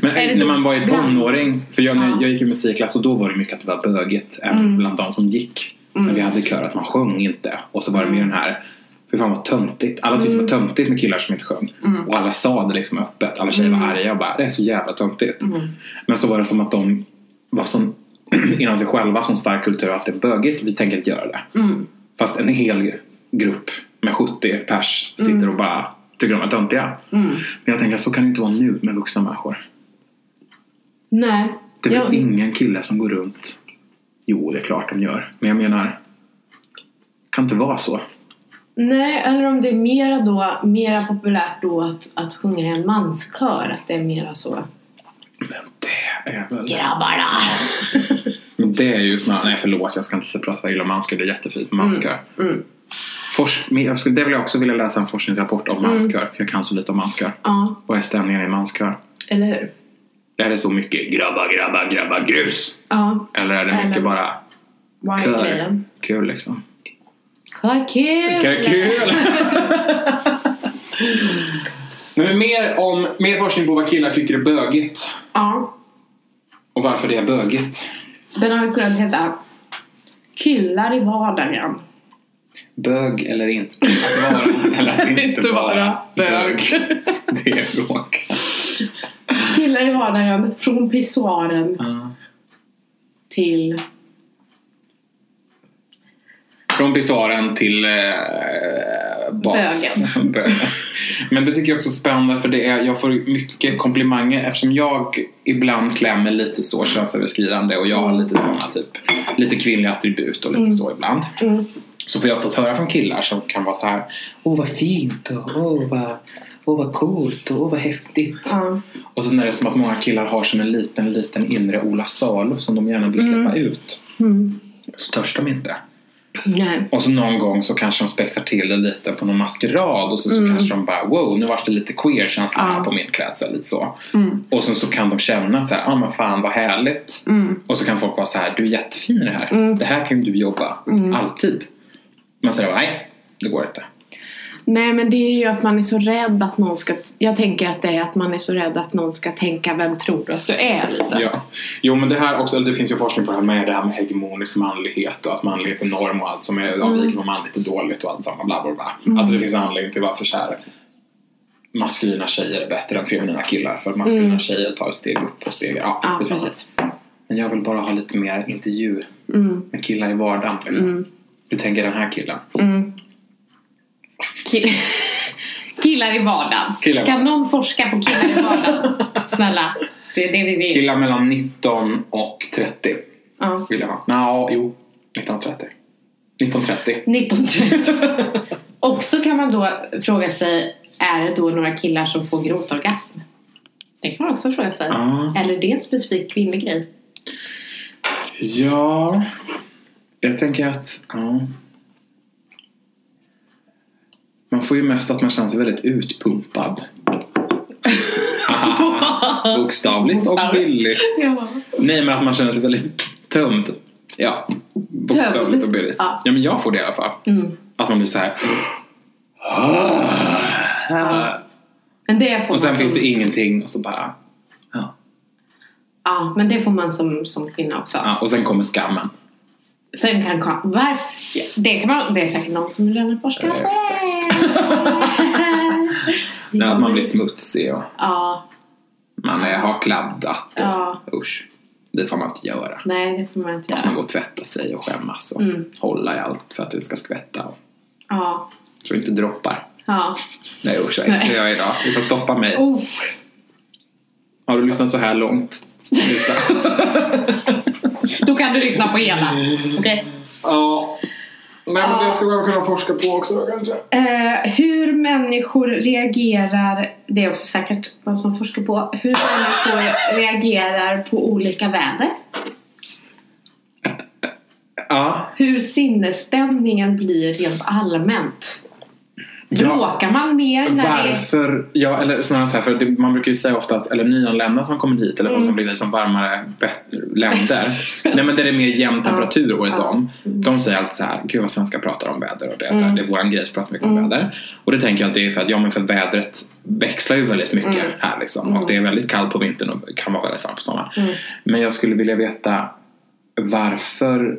Men
Är det
när
då
man var i
bland-
tonåring, för jag, när
Ja. Mm.
jag gick i musikklass och då var det mycket att det var bögigt även bland de som gick. När vi hade kör att man sjöng inte och så var det
Mm.
mer den här Fy fan vad töntigt. Alla tyckte det var töntigt med killar som inte sjöng.
Mm.
Och alla sa det liksom öppet. Alla tjejer var arga och bara det är så jävla töntigt.
Mm.
Men så var det som att de var sån inom sig själva sån stark kultur att det är bögigt vi tänker inte göra det.
Mm.
Fast en hel grupp med 70 pers sitter
Mm.
och bara tycker de är töntiga. Men jag tänker så kan det inte vara nu med vuxna människor.
Nej.
Det är väl
Jag-
ingen kille som går runt. Jo, det är klart de gör. Men jag menar. Kan inte vara så.
Nej, eller om det är mera, då, mera populärt då att, att sjunga i en manskör. Att det är mera så.
Men det är väl...
Grabbarna!
Men Det är ju snarare... Nej, förlåt. Jag ska inte prata illa om manskör. Det är jättefint med manskör.
Mm.
Forsk... men jag skulle- Det vill jag också vilja läsa en forskningsrapport om manskör. För jag kan så lite om manskör.
Mm. Ja,
Vad är stämningen i manskör?
eller hur?
Är det så mycket grabbar, grabbar, grabbar, grus?
Ja,
Eller är det mycket
Eller-
bara
vad är
kör?
grejen?
Kul liksom.
Kör kul!
Kul! Nej, men mer, om, mer forskning på vad killar tycker är bögigt
Ja,
och varför det är bögigt.
den har vi kunnat heta Killar i vardagen.
Bög eller inte att vara, eller att inte vara bög. Det är frågan.
Killar i vardagen, från pissoaren till...
Från pissoaren till eh, bas. Bögen. Men det tycker jag också är spännande för det är, jag får mycket komplimanger eftersom jag ibland klämmer lite så könsöverskridande och jag har lite sådana typ lite kvinnliga attribut och lite så ibland. Så får jag oftast höra från killar som kan vara så här Åh vad fint och åh vad, åh, vad coolt och åh vad häftigt.
Ja.
Och sen är det som att många killar har som en liten, liten inre Ola Salo som de gärna vill släppa ut. Så törs de inte.
Nej.
Och så någon gång så kanske de spexar till det lite på någon maskerad och så, så kanske de bara wow, nu vart det lite queer-känsla här
Ja.
på min klädsel. Lite så. Och sen så kan de känna att så här, ah, men fan vad härligt. Och så kan folk vara så här, du är jättefin i det här. Det här kan ju du jobba alltid. Men så är det bara, nej, det går inte.
Nej men det är ju att man är så rädd att någon ska... Jag tänker att det är att man är så rädd att någon ska tänka vem tror du att du är lite.
Ja. Jo men det här också, eller det finns ju forskning på det här med det här med hegemonisk manlighet och att manlighet är norm och allt som är avviker från manligt är dåligt och allt sånt. Bla, bla, bla. Alltså det finns en anledning till varför så här maskulina tjejer är bättre än feminina killar för att maskulina tjejer tar ett steg upp och steg ja,
Ja,
skitsamma.
precis. Mm.
Men jag vill bara ha lite mer intervju med killar i vardagen liksom. Du tänker den här killen.
Mm. Kill- killar i vardagen.
Killar i
Kan någon forska på killar i vardagen? Snälla. Det är det vi vill.
Killar mellan 19 och 30
ja.
vill jag ha. Nå, jo. 19 och 30. 19 och 30.
1930. Också kan man då fråga sig, är det då några killar som får gråtorgasm? Det kan man också fråga sig.
Ja.
Eller är det en specifik kvinnlig grej?
Ja, jag tänker att ja. man får ju mest att man känner sig väldigt utpumpad. Haha, Bokstavligt och billigt.
Ja.
Nej, men att man känner sig väldigt tömd. Ja,
Tömd.
bokstavligt och billigt.
Ja.
Ja, men jag får det i alla fall.
Mm.
Att man blir så här.
Men det får
Och sen
man
finns
som,
det ingenting och så bara. Ja.
Ja, men det får man som, som kvinna också.
Ja, och sen kommer skammen.
Sen kan kom, varför, det, kan man, det är säkert någon som redan forskar
Ja,
på
exakt.
det.
Att man blir smutsig och
Ja,
man är, har kladdat. Och,
Ja.
Usch, det får man inte göra.
nej det får man inte
Att man
göra.
går och tvättar sig och skämmas och
Mm.
hålla i allt för att det ska skvätta. Och,
Ja,
så det inte droppar.
ja.
Nej usch, vad äcklig
Nej.
jag är idag. Du får stoppa mig.
Uff.
Har du lyssnat så här långt? Lyssna.
Då kan du lyssna på hela. Okej.
Ja. Nej
men det
skulle man kunna forska på också kanske.
Eh, hur människor reagerar, det är också säkert någon som har forskat på, hur människor reagerar på olika väder.
Ja.
Hur sinnesstämningen blir rent allmänt.
ja.
Bråkar man mer när det
Varför? Ja, eller snarare så här, för det, man brukar ju säga ofta att eller nyanlända som kommer hit eller folk
Mm.
som blir från varmare bättre länder. nej men där det är mer jämn temperatur året
Ja.
om. De säger alltid så här, gud vad svenskar pratar om väder och det är, så här,
Mm.
det är våran grej att prata mycket om väder. Och det tänker jag att det är för att, ja men för vädret växlar ju väldigt mycket
Mm.
här liksom. Och det är väldigt kallt på vintern och kan vara väldigt varmt på sommaren.
Mm.
Men jag skulle vilja veta varför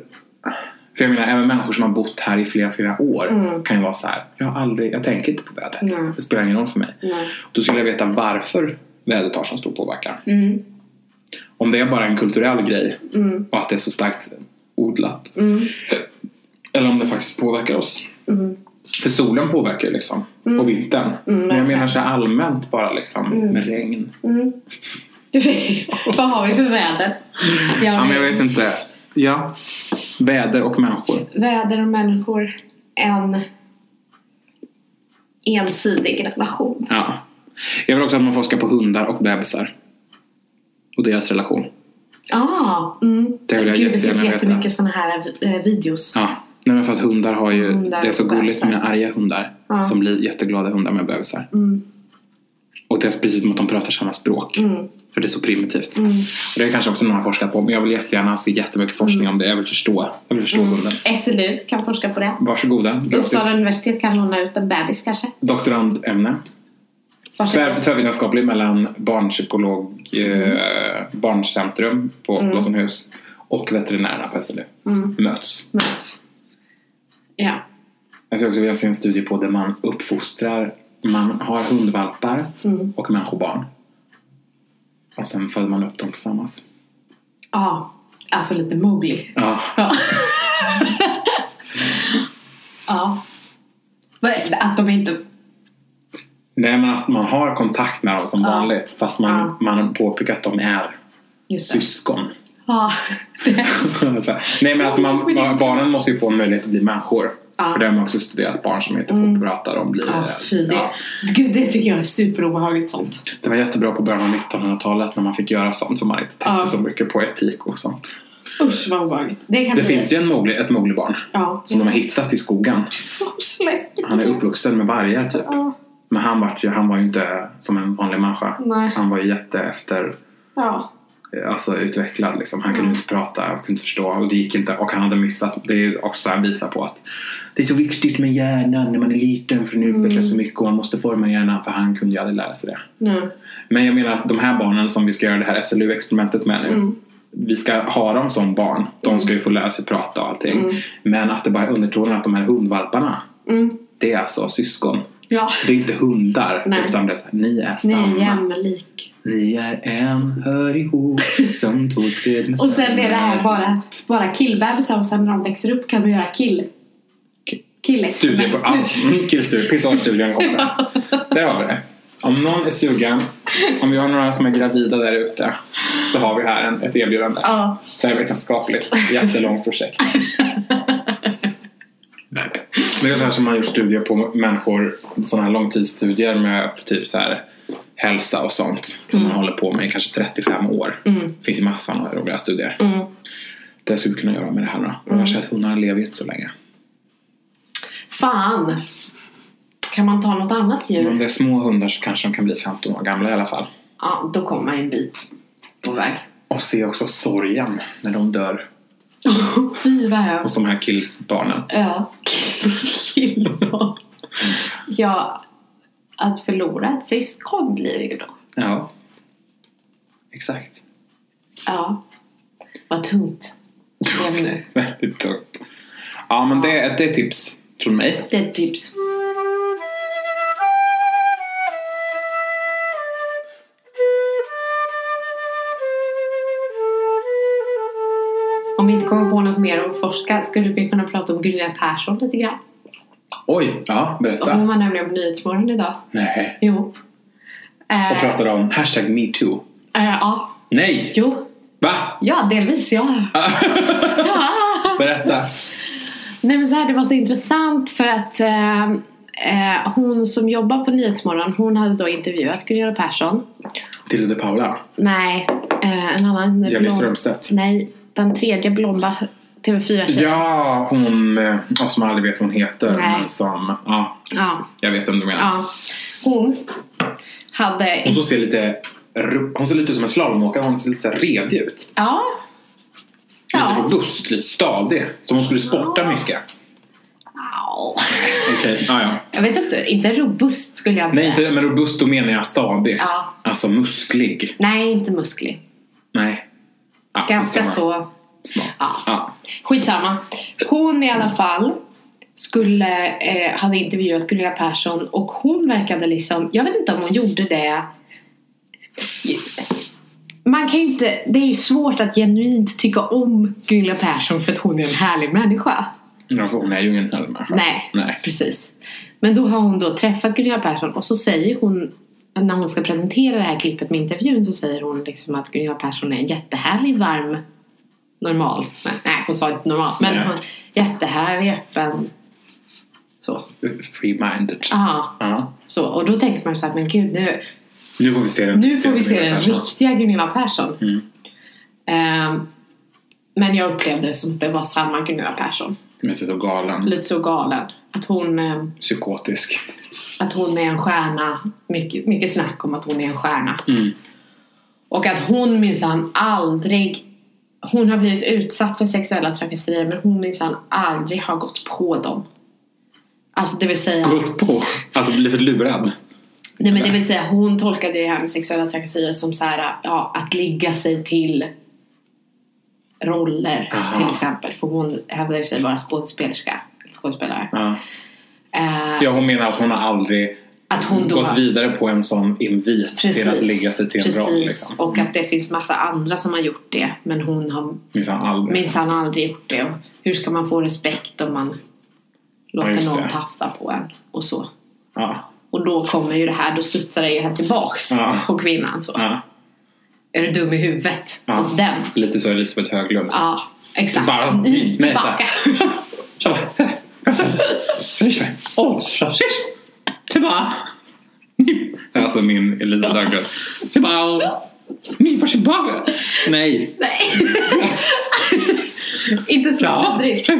för jag menar, även människor som har bott här i flera, flera år kan ju vara så här. Jag, har aldrig, jag tänker inte på vädret.
Mm. Nej.
Det spelar ingen roll för mig.
Nej.
Då skulle jag veta varför vädret har så stor påverkan.
Mm.
Om det är bara en kulturell grej och att det är så starkt odlat.
Mm.
Eller om det faktiskt påverkar oss. För solen påverkar ju liksom på vintern. Men jag
Mm. verkligen. Mm.
menar så här allmänt bara liksom med regn.
Vad har vi för väder?
Ja, men jag vet inte. Ja. Väder och människor.
Väder och människor, en ensidig relation.
Ja. Jag vill också att man forskar på hundar och bebisar. Och deras relation.
Ah, mm.
Det vill
Gud,
jag
det
jättegärna
finns
veta.
jättemycket sådana här eh, videos.
Ja. Nej, men för att hundar har ju...
Hundar
det är så
och
gulligt
bebisar.
med arga hundar.
Ja. Mm.
Som blir jätteglada hundar med bebisar. Och det är precis som att de pratar samma språk.
Mm.
För det är så primitivt. Och det är kanske också någon har forskat på. Men jag vill jättegärna se jättemycket forskning
Mm.
om det. Jag vill förstå. Jag vill förstå hunden.
SLU kan forska på det.
Varsågoda. Gratis.
Mm. Uppsala universitet kan låna ut en bebis kanske.
Doktorandämne. Tvär,
Varsågod.
tvärvetenskaplig mellan barnpsykolog,
Mm.
eh, barncentrum på Blåsenhus och veterinärerna på SLU
Mm.
möts.
Möt. Ja.
Jag skulle också vilja se en studie på där man uppfostrar, man har hundvalpar
Mm.
och människobarn. Och sen föder man upp dem tillsammans.
ja. Alltså lite Mowgli.
Ja,
Ja. ja. Vad- Att de inte...
Nej men att man har kontakt med dem som
Ja.
vanligt fast man, man påpekar att de är
Just det.
syskon.
Ja. Det.
Så här. Nej men alltså man, man, barnen måste ju få en möjlighet att bli människor.
Mm. Ja. Mm.
För det har man också studerat barn som inte får prata. De blir, eh,
Ja, fy. Det,
ja.
Gud, det tycker jag är superobehagligt sånt.
det var jättebra på början av 1900-talet när man fick göra sånt för man inte tänkte
Ja.
så mycket på etik och sånt.
Usch vad obehagligt. Det, kan
Det
bli-
finns ju en Mowgli, ett Mowgli-barn
Ja.
som de har hittat i skogen.
Usch, Så läskigt.
Han är uppvuxen med vargar typ.
Ja.
Men han var ju, han var ju inte som en vanlig människa.
Nej.
Han var ju jätte efter
Ja.
alltså, utvecklad. Liksom. Han kunde
Mm.
inte prata, han kunde inte förstå och det gick inte. Och han hade missat. Det är också här visar på att det är så viktigt med hjärnan när man är liten för den
Mm.
utvecklas så mycket och man måste forma hjärnan för han kunde ju aldrig lära sig det.
Nej.
Men jag menar att de här barnen som vi ska göra det här SLU-experimentet med nu.
Mm.
Vi ska ha dem som barn. De ska ju få lära sig prata och allting. Men att det bara är undertonen att de här hundvalparna,
Mm.
det är alltså syskon.
Ja.
Det är inte hundar,
Nej.
utan det är så här, ni är
Ni
samma.
är jämlik.
Ni är en, hör ihop som två träd med
Och sen är det här
samma
bara, bara killbebisar och sen när de växer upp kan du göra kill. Kill
Studie på allt. Mm, kul studie. Pissarstudien kommer där. Där har vi det. Om någon är sugen, om vi har några som är gravida där ute, så har vi här en, ett erbjudande.
Ja.
Det här är vetenskapligt. Jättelångt projekt. Men det är så här som man har gjort studier på människor, sådana här långtidsstudier med typ så här hälsa och sånt som man håller på med i kanske 35 år. Det finns ju massor av roliga studier.
Mm.
Det skulle vi kunna göra med det här då. Men jag ser att hundarna lever ju inte så länge.
Fan. Kan man ta något annat
Men
djur?
om det är små hundar så kanske de kan bli 15 år gamla i alla fall.
Ja, då kommer man en bit på väg.
Och se också sorgen när de dör
Fy vad hemskt.
hos de här killbarnen.
Ja. Killbarn. ja. Att förlora ett syskon blir det ju då.
Ja. Exakt.
Ja. Vad tungt. Lev nu.
Väldigt tungt. Ja men det, det är tips från mig.
Det är ett tips. Om vi inte kommer på något mer att forska skulle vi kunna prata om Gunilla Persson lite grann.
Oj! Ja, berätta.
Hon var nämligen på Nyhetsmorgon idag.
Nej.
Jo. Eh,
Och pratade om hashtag metoo.
eh, Ja.
Nej!
Jo.
Va?
Ja, delvis ja.
berätta.
Nej men så här, det var så intressant för att eh, eh, hon som jobbar på Nyhetsmorgon, hon hade då intervjuat Gunilla Persson.
Tilde de Paula.
Nej, eh, en annan.
Jenny
blond-
Strömstedt.
Nej, den tredje blonda TV4-tjejen.
Ja, hon eh, ja, som aldrig vet vad hon heter.
Nej.
Men som, ja,
ja.
jag vet vem du menar.
ja. Hon hade...
Hon så ser lite, ru- hon ser lite ut som en slalomåkare. Hon ser lite så här redig ut.
Ja.
Lite
Ja.
robust, lite stadig. Som hon skulle sporta mycket.
Au.
Okej, ja, ja.
Jag vet inte, inte robust skulle jag
Nej, inte, men robust då menar jag stadig.
Ja.
Alltså musklig.
Nej, inte musklig.
Nej. Ja,
Ganska
skitsamma.
så.
Smal.
Ja.
Ja.
Skitsamma. Hon i alla fall skulle, eh, hade intervjuat Gunilla Persson och hon verkade liksom, jag vet inte om hon gjorde det. Man kan ju inte, det är ju svårt att genuint tycka om Gunilla Persson för att hon är en härlig människa.
Ja, för hon är ju ingen snäll människa.
Nej,
Nej.
precis. Men då har hon då träffat Gunilla Persson och så säger hon när hon ska presentera det här klippet med intervjun så säger hon liksom att Gunilla Persson är en jättehärlig, varm, normal. Nej, nej hon sa inte normal. Men
Nej.
hon, jättehärlig, öppen. Så.
Free-minded.
Ja,
Ja.
så. Och då tänker man så här, men gud nu,
Nu får vi se den.
nu får vi se den
Kanske.
riktiga Gunilla Persson.
Mm.
Ehm, men jag upplevde det som att det var samma Gunilla Persson.
Men så så galen.
Lite så galen. Att hon ehm,
Psykotisk.
att hon är en stjärna. Mycket, mycket snack om att hon är en stjärna.
Mm.
Och att hon minsann aldrig... Hon har blivit utsatt för sexuella trakasserier men hon minsann aldrig har gått på dem. Alltså det vill säga...
Gått på. Alltså blivit lurad.
Nej men det vill säga hon tolkade det här med sexuella trakasserier som så här, ja, att ligga sig till roller
Aha.
till exempel. För hon hävdade sig vara skådespelerska. Skådespelare.
Ja. Mm.
Eh,
ja, hon menar att hon har aldrig
Att hon då
gått
har-
vidare på en sån invit till att lägga sig till en
precis.
roll. Liksom.
Och att det finns massa andra som har gjort det. Men hon har
Minsann aldrig.
minsann aldrig gjort det. Och hur ska man få respekt om man låter
just
någon
det.
tafsa på en? Och så.
Ja.
Och då kommer ju det här, då studsar det ju här tillbaks
Ja.
på kvinnan. Så.
Ja.
Är du dum i huvudet?
Ja.
Den.
Lite så Elisabeth Höglund.
Ja, exakt.
Bara,
Mm,
nej,
tillbaka.
Tjabba! Åh, tjabba! Tjabba! Det är alltså min Elisabeth Höglund. Tjabba! Ni varsin Nej.
Nej. Inte så sladdrigt.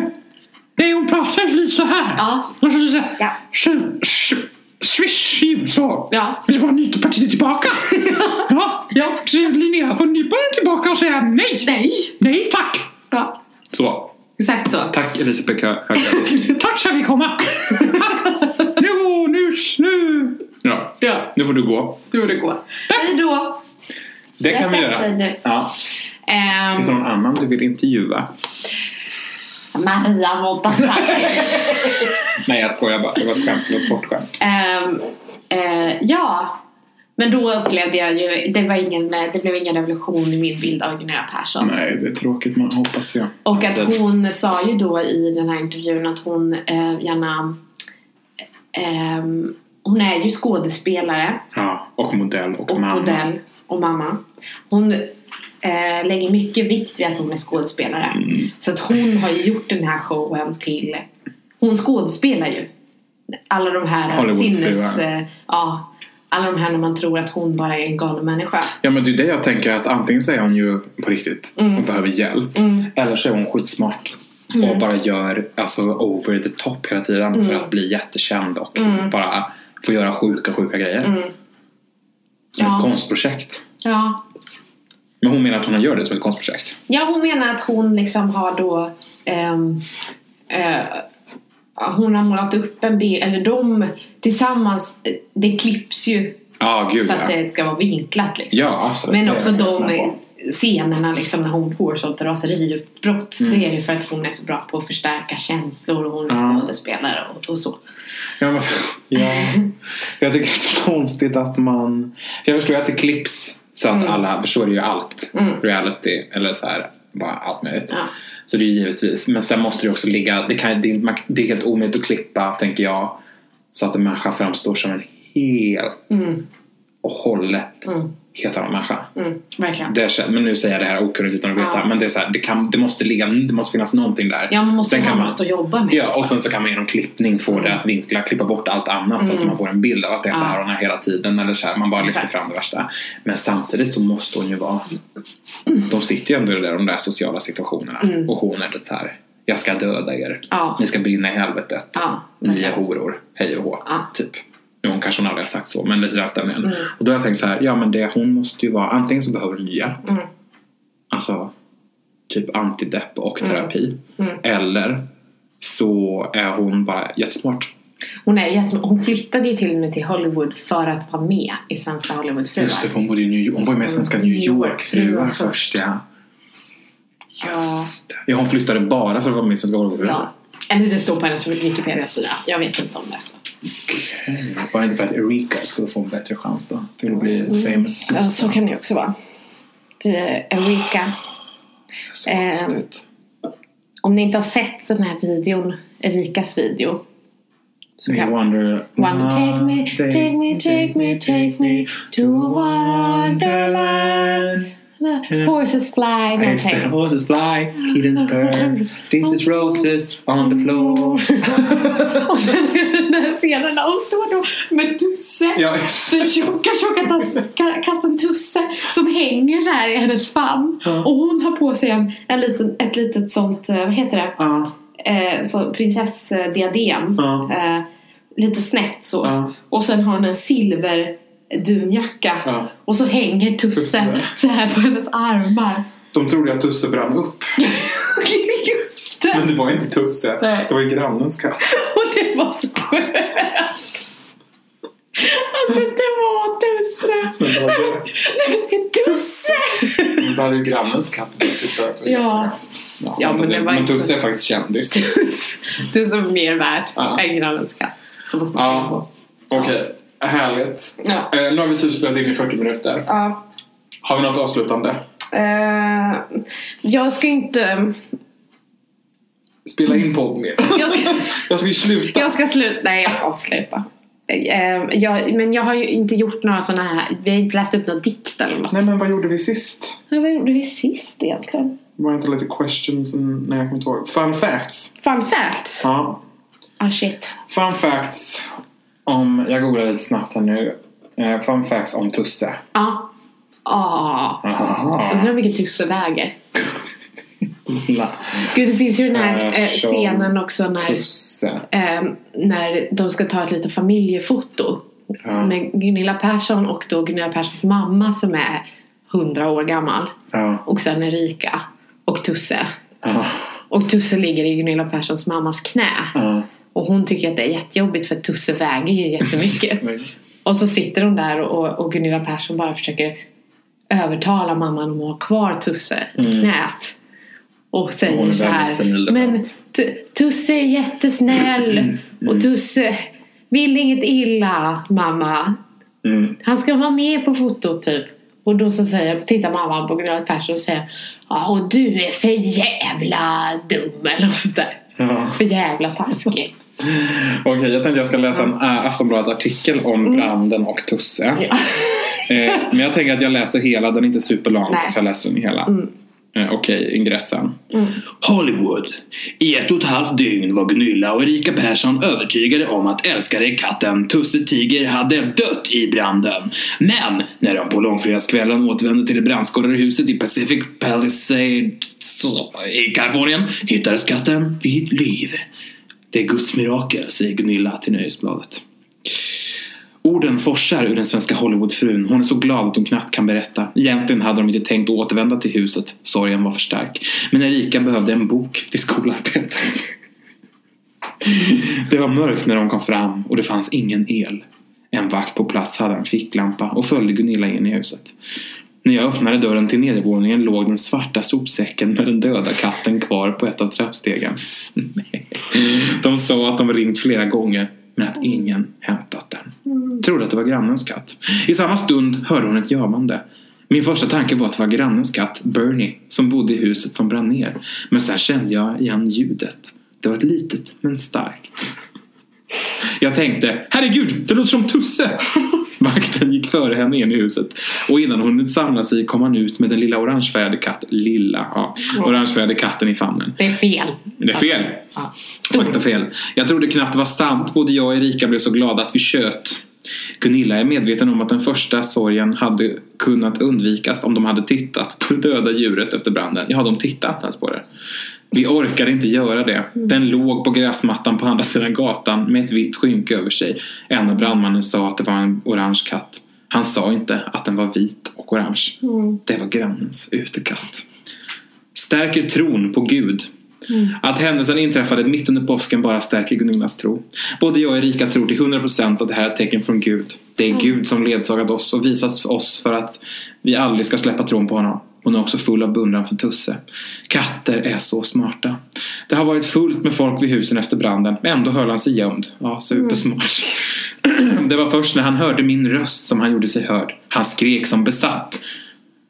Nej, hon pratar precis så här.
Ja.
Hon pratar så här.
Ja.
Sh- sh- Swish ljud så.
Ja.
Vi ska bara nypa partiet tillbaka. ja, ja. Så Linnea får nypa den tillbaka och säga nej.
Nej.
Nej, tack.
Ja.
Så.
Exakt så.
Tack Elisabeth Högberg. tack ska vi komma. Tack. nu, går- nu, nu. Ja.
Ja.
Nu får du gå.
Du borde gå. Hej då.
Det
Jag
kan vi
sätter
göra.
nu.
Ja.
Ehm,
Finns det någon annan du vill intervjua?
Maria Montazami.
Nej, jag skojar bara. Det var ett skämt. Det var ett bortskämt.
Ehm, eh, ja, men då upplevde jag ju, det, var ingen, det blev ingen revolution i min bild av Linnea Persson.
Nej, det är tråkigt. Man hoppas jag.
Och att hon sa ju då i den här intervjun att hon eh, gärna... ehm, hon är ju skådespelare
Ja, och modell och,
och
mamma.
modell och mamma. Hon eh, lägger mycket vikt vid att hon är skådespelare.
Mm.
Så att hon har ju gjort den här showen till... Hon skådespelar ju. Alla de här
Hollywoodfruar.
sinnes... Eh, ja, alla de här när man tror att hon bara är en galen människa.
Ja, men det är det jag tänker. att Antingen så är hon ju på riktigt
Mm.
och behöver hjälp.
Mm.
Eller så är hon skitsmart. Och bara gör alltså, over the top hela tiden för
Mm.
att bli jättekänd och bara få göra sjuka, sjuka grejer.
Mm.
Som
Ja.
ett konstprojekt.
Ja.
Men hon menar att hon gör det som ett konstprojekt.
ja, hon menar att hon liksom har då... ehm, eh, hon har målat upp en bild, eller de tillsammans, eh, det klipps ju
Ja, gud
så att
ja.
det ska vara vinklat liksom.
Ja, absolut.
Men
Det
också
är jag med
de
på.
scenerna liksom, när hon får sånt raseriutbrott. Det är det för att hon är så bra på att förstärka känslor och hon är
Ja.
skådespelare och, och så.
Ja, men, ja. Jag tycker det är så konstigt att man... För jag förstår ju att det klipps så
Mm.
att alla förstår ju allt. Reality eller så här, bara allt möjligt.
Ja.
Så det är ju givetvis. Men sen måste det också ligga... Det, kan, det, är- man, det är helt omöjligt att klippa, tänker jag. Så att en människa framstår som en helt och hållet helt annan människa.
Mm, verkligen.
Det, kän- men nu säger jag det här okunnigt utan att veta.
Ja.
Men det är så här, det, kan, det måste ligga, det måste finnas någonting där.
Ja, man måste
Sen
ha
kan man-
något att jobba med.
Ja, och sen så kan man genom klippning få
Mm.
det att vinkla, klippa bort allt annat så att man får en bild av att det är så här hon är hela tiden eller så här, man bara lyfter
Exakt.
fram det värsta. Men samtidigt så måste hon ju vara,
Mm.
de sitter ju ändå i de där, de där sociala situationerna och hon är lite så här, jag ska döda er,
Ja.
ni ska brinna i helvetet, Mm.
Ja,
ni är
verkligen.
horor, hej och hå,
Ja. Mm.
typ. Nu hon kanske hon aldrig har sagt så, men lite i den stämningen. Och då har jag tänkt så här, ja men det, hon måste ju vara, antingen så behöver hon hjälp,
Mm.
alltså typ antidepp och
Mm.
terapi, eller så är hon bara jättesmart.
Hon, är jättesm- hon flyttade ju till och med till Hollywood för att vara med i Svenska Hollywoodfruar.
Just det, för hon, bodde i New hon var ju med i Svenska New
Mm. New
York-fruar
York-fruar
först. Ja.
Ja.
ja, hon flyttade bara för att vara med i Svenska
ja.
Hollywood-fruar.
Eller det står på hennes Wikipedia-sida. Jag vet inte om det är så.
Var det inte för att Erika skulle få en bättre chans då? Till att bli famous.
Mm. Ja, så kan det ju också vara. Det- Erika.
Så
ehm,
konstigt.
Om ni inte har sett den här videon, Erikas video.
Så jag
ja.
wonder...
One, take me, take me, take me, take me to wonderland.
Mm.
Horses fly,
It's the
någonting.
horses fly, kittens purr. This is roses on the floor.
Och sen är det den här scenen när hon står då med Tusse.
Ja,
Den tjocka, tjocka tas- ka- katten Tusse som hänger så här i hennes famn.
Ja.
Och hon har på sig en, en liten, ett litet sånt, eh, vad heter det?
Ja,
eh, så prinsessdiadem.
Ja.
Eh, lite snett så.
Ja.
Och sen har hon en silver dunjacka.
Ja.
Och så hänger
Tusse.
Tusse så här på hennes armar.
de trodde att Tusse brann upp.
Just det!
Men det var inte Tusse.
Nej.
Det var ju grannens katt.
Och det var så skönt! Att det inte var Tusse!
Men det var det.
Nej, men det är Tusse!
Då hade ju grannens katt blivit förstörd.
Ja.
ja.
Ja, men det var
men
inte
Tusse
så-
är faktiskt kändis.
Tusse var mer värd
Ja.
än grannens katt. Så måste man tänka på.
ja. Okej, härligt.
Ja.
Eh, nu har vi typ spelat in i 40 minuter.
Ja.
Har vi något avslutande?
Eh, jag ska inte...
Spela in podd mer.
Jag ska...
Jag ska ju sluta.
Jag ska sluta. Nej, jag ska inte sluta. Eh, Jag, men jag har ju inte gjort några sådana här... Vi har inte läst upp några dikt eller något.
Nej men vad gjorde vi sist?
Ja, Vad gjorde vi sist egentligen?
Var det inte lite questions? and- Nej jag kommer inte ihåg. Fun facts.
Fun facts.
Ja.
Ah shit.
Fun facts om... Jag googlar lite snabbt här nu. Eh, Fun facts om Tusse.
Ja. Ah, undrar
Aha.
hur mycket tussar väger.
Lilla
Gud, det finns ju den här eh,
Persson.
scenen också när,
Tusse.
eh, när de ska ta ett litet familjefoto.
Ja.
Med Gunilla Persson och då Gunilla Perssons mamma som är 100 år gammal.
Ja.
Och sen Erika och Tusse.
Ja.
Och Tusse ligger i Gunilla Perssons mammas knä.
Ja.
Och hon tycker att det är jättejobbigt för Tusse väger ju jättemycket.
Men-
Och så sitter de där och, och Gunilla Persson bara försöker övertala mamman om att ha kvar Tusse i knät. Och
Mm. Hon
säger
är
så
väldigt senil
här.
där Mm.
Men
bak."
Tu- Tusse är jättesnäll. Och Tusse vill inget illa mamma.
Mm.
Han ska vara med på fotot typ. Och då så säger, tittar mamma på Gunilla Persson och säger Ja och du är för jävla dum eller något sånt där.
Ja.
För jävla taskig.
Okej, jag tänkte jag ska läsa en äh, Aftonbladet-artikel om
Mm.
branden och Tusse. Eh, men jag tänker att jag läser hela, den är inte superlång.
Nej.
Så jag läser den hela. Eh, Okej, ingressen.
Hollywood. I ett och ett halvt dygn var Gunilla och Erika Persson övertygade om att älskade katten Tusse Tiger hade dött i branden. Men när de på långfredagskvällen återvände till det brandskadade huset i Pacific Palisades eh, i Kalifornien hittades katten vid liv. Det är Guds mirakel, säger Gunilla till Nöjesbladet. Orden forsar ur den svenska Hollywoodfrun. Hon är så glad att hon knappt kan berätta. Egentligen hade de inte tänkt återvända till huset. Sorgen var för stark. Men Erika behövde en bok till skolarbetet. Det var mörkt när de kom fram och det fanns ingen el. En vakt på plats hade en ficklampa och följde Gunilla in i huset. När jag öppnade dörren till nedervåningen låg den svarta sopsäcken med den döda katten kvar på ett av trappstegen. De sa att de ringt flera gånger men att ingen hämtat den trodde att det var grannens katt. I samma stund hörde hon ett jamande. Min första tanke var att det var grannens katt, Bernie, som bodde i huset som brann ner. Men sen kände jag igen ljudet. Det var ett litet, men starkt. Jag tänkte, herregud, det låter som Tusse! Vakten gick före henne in i huset. Och innan hon hunnit samla sig kom han ut med den lilla orangefärgade katten, lilla, ja, orangefärgade katten i famnen.
Det är fel.
Det är fel.
Ja.
Fakta fel. Jag trodde knappt det var sant. Både jag och Erika blev så glada att vi tjöt. Gunilla är medveten om att den första sorgen hade kunnat undvikas om de hade tittat på det döda djuret efter branden. Ja, de tittade inte ens på det. Vi orkade inte göra det. Den låg på gräsmattan på andra sidan gatan med ett vitt skynke över sig. En av brandmannen sa att det var en orange katt. Han sa inte att den var vit och orange. Det var grannens utekatt stärker tron på Gud. Att händelsen inträffade mitt under påsken bara stärker Gunillas tro. Både jag och Erika tror till 100% att det här är ett tecken från Gud. Det är Gud som ledsagat oss och visat oss för att vi aldrig ska släppa tron på honom. Hon är också full av beundran för Tusse. Katter är så smarta. Det har varit fullt med folk vid husen efter branden, men ändå höll han sig gömd. Ja, supersmart. Det var först när han hörde min röst som han gjorde sig hörd. Han skrek som besatt.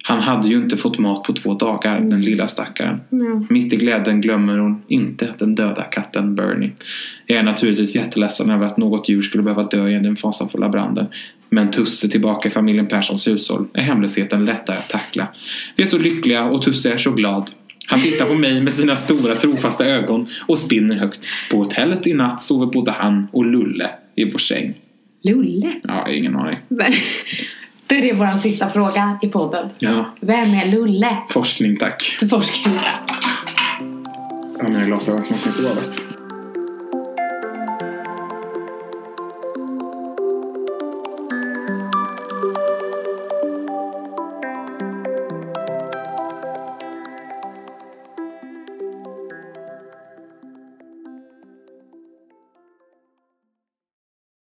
Han hade ju inte fått mat på två dagar, den lilla stackaren. Mitt i glädjen glömmer hon inte den döda katten Bernie. Jag är naturligtvis jätteledsen över att något djur skulle behöva dö i den fasansfulla branden. Men Tusse tillbaka i familjen Perssons hushåll är hemlösheten lättare att tackla. Vi är så lyckliga och Tusse är så glad. Han tittar på mig med sina stora trofasta ögon och spinner högt. På hotellet i natt sover både han och Lulle i vår säng.
Lulle.
Ja, ingen aning.
Då är det vår sista fråga i podden.
Ja,
Vem är Lulle?
forskning tack.
Till forskningen.
Ja, mina glasögon smakar inte bra. vet du.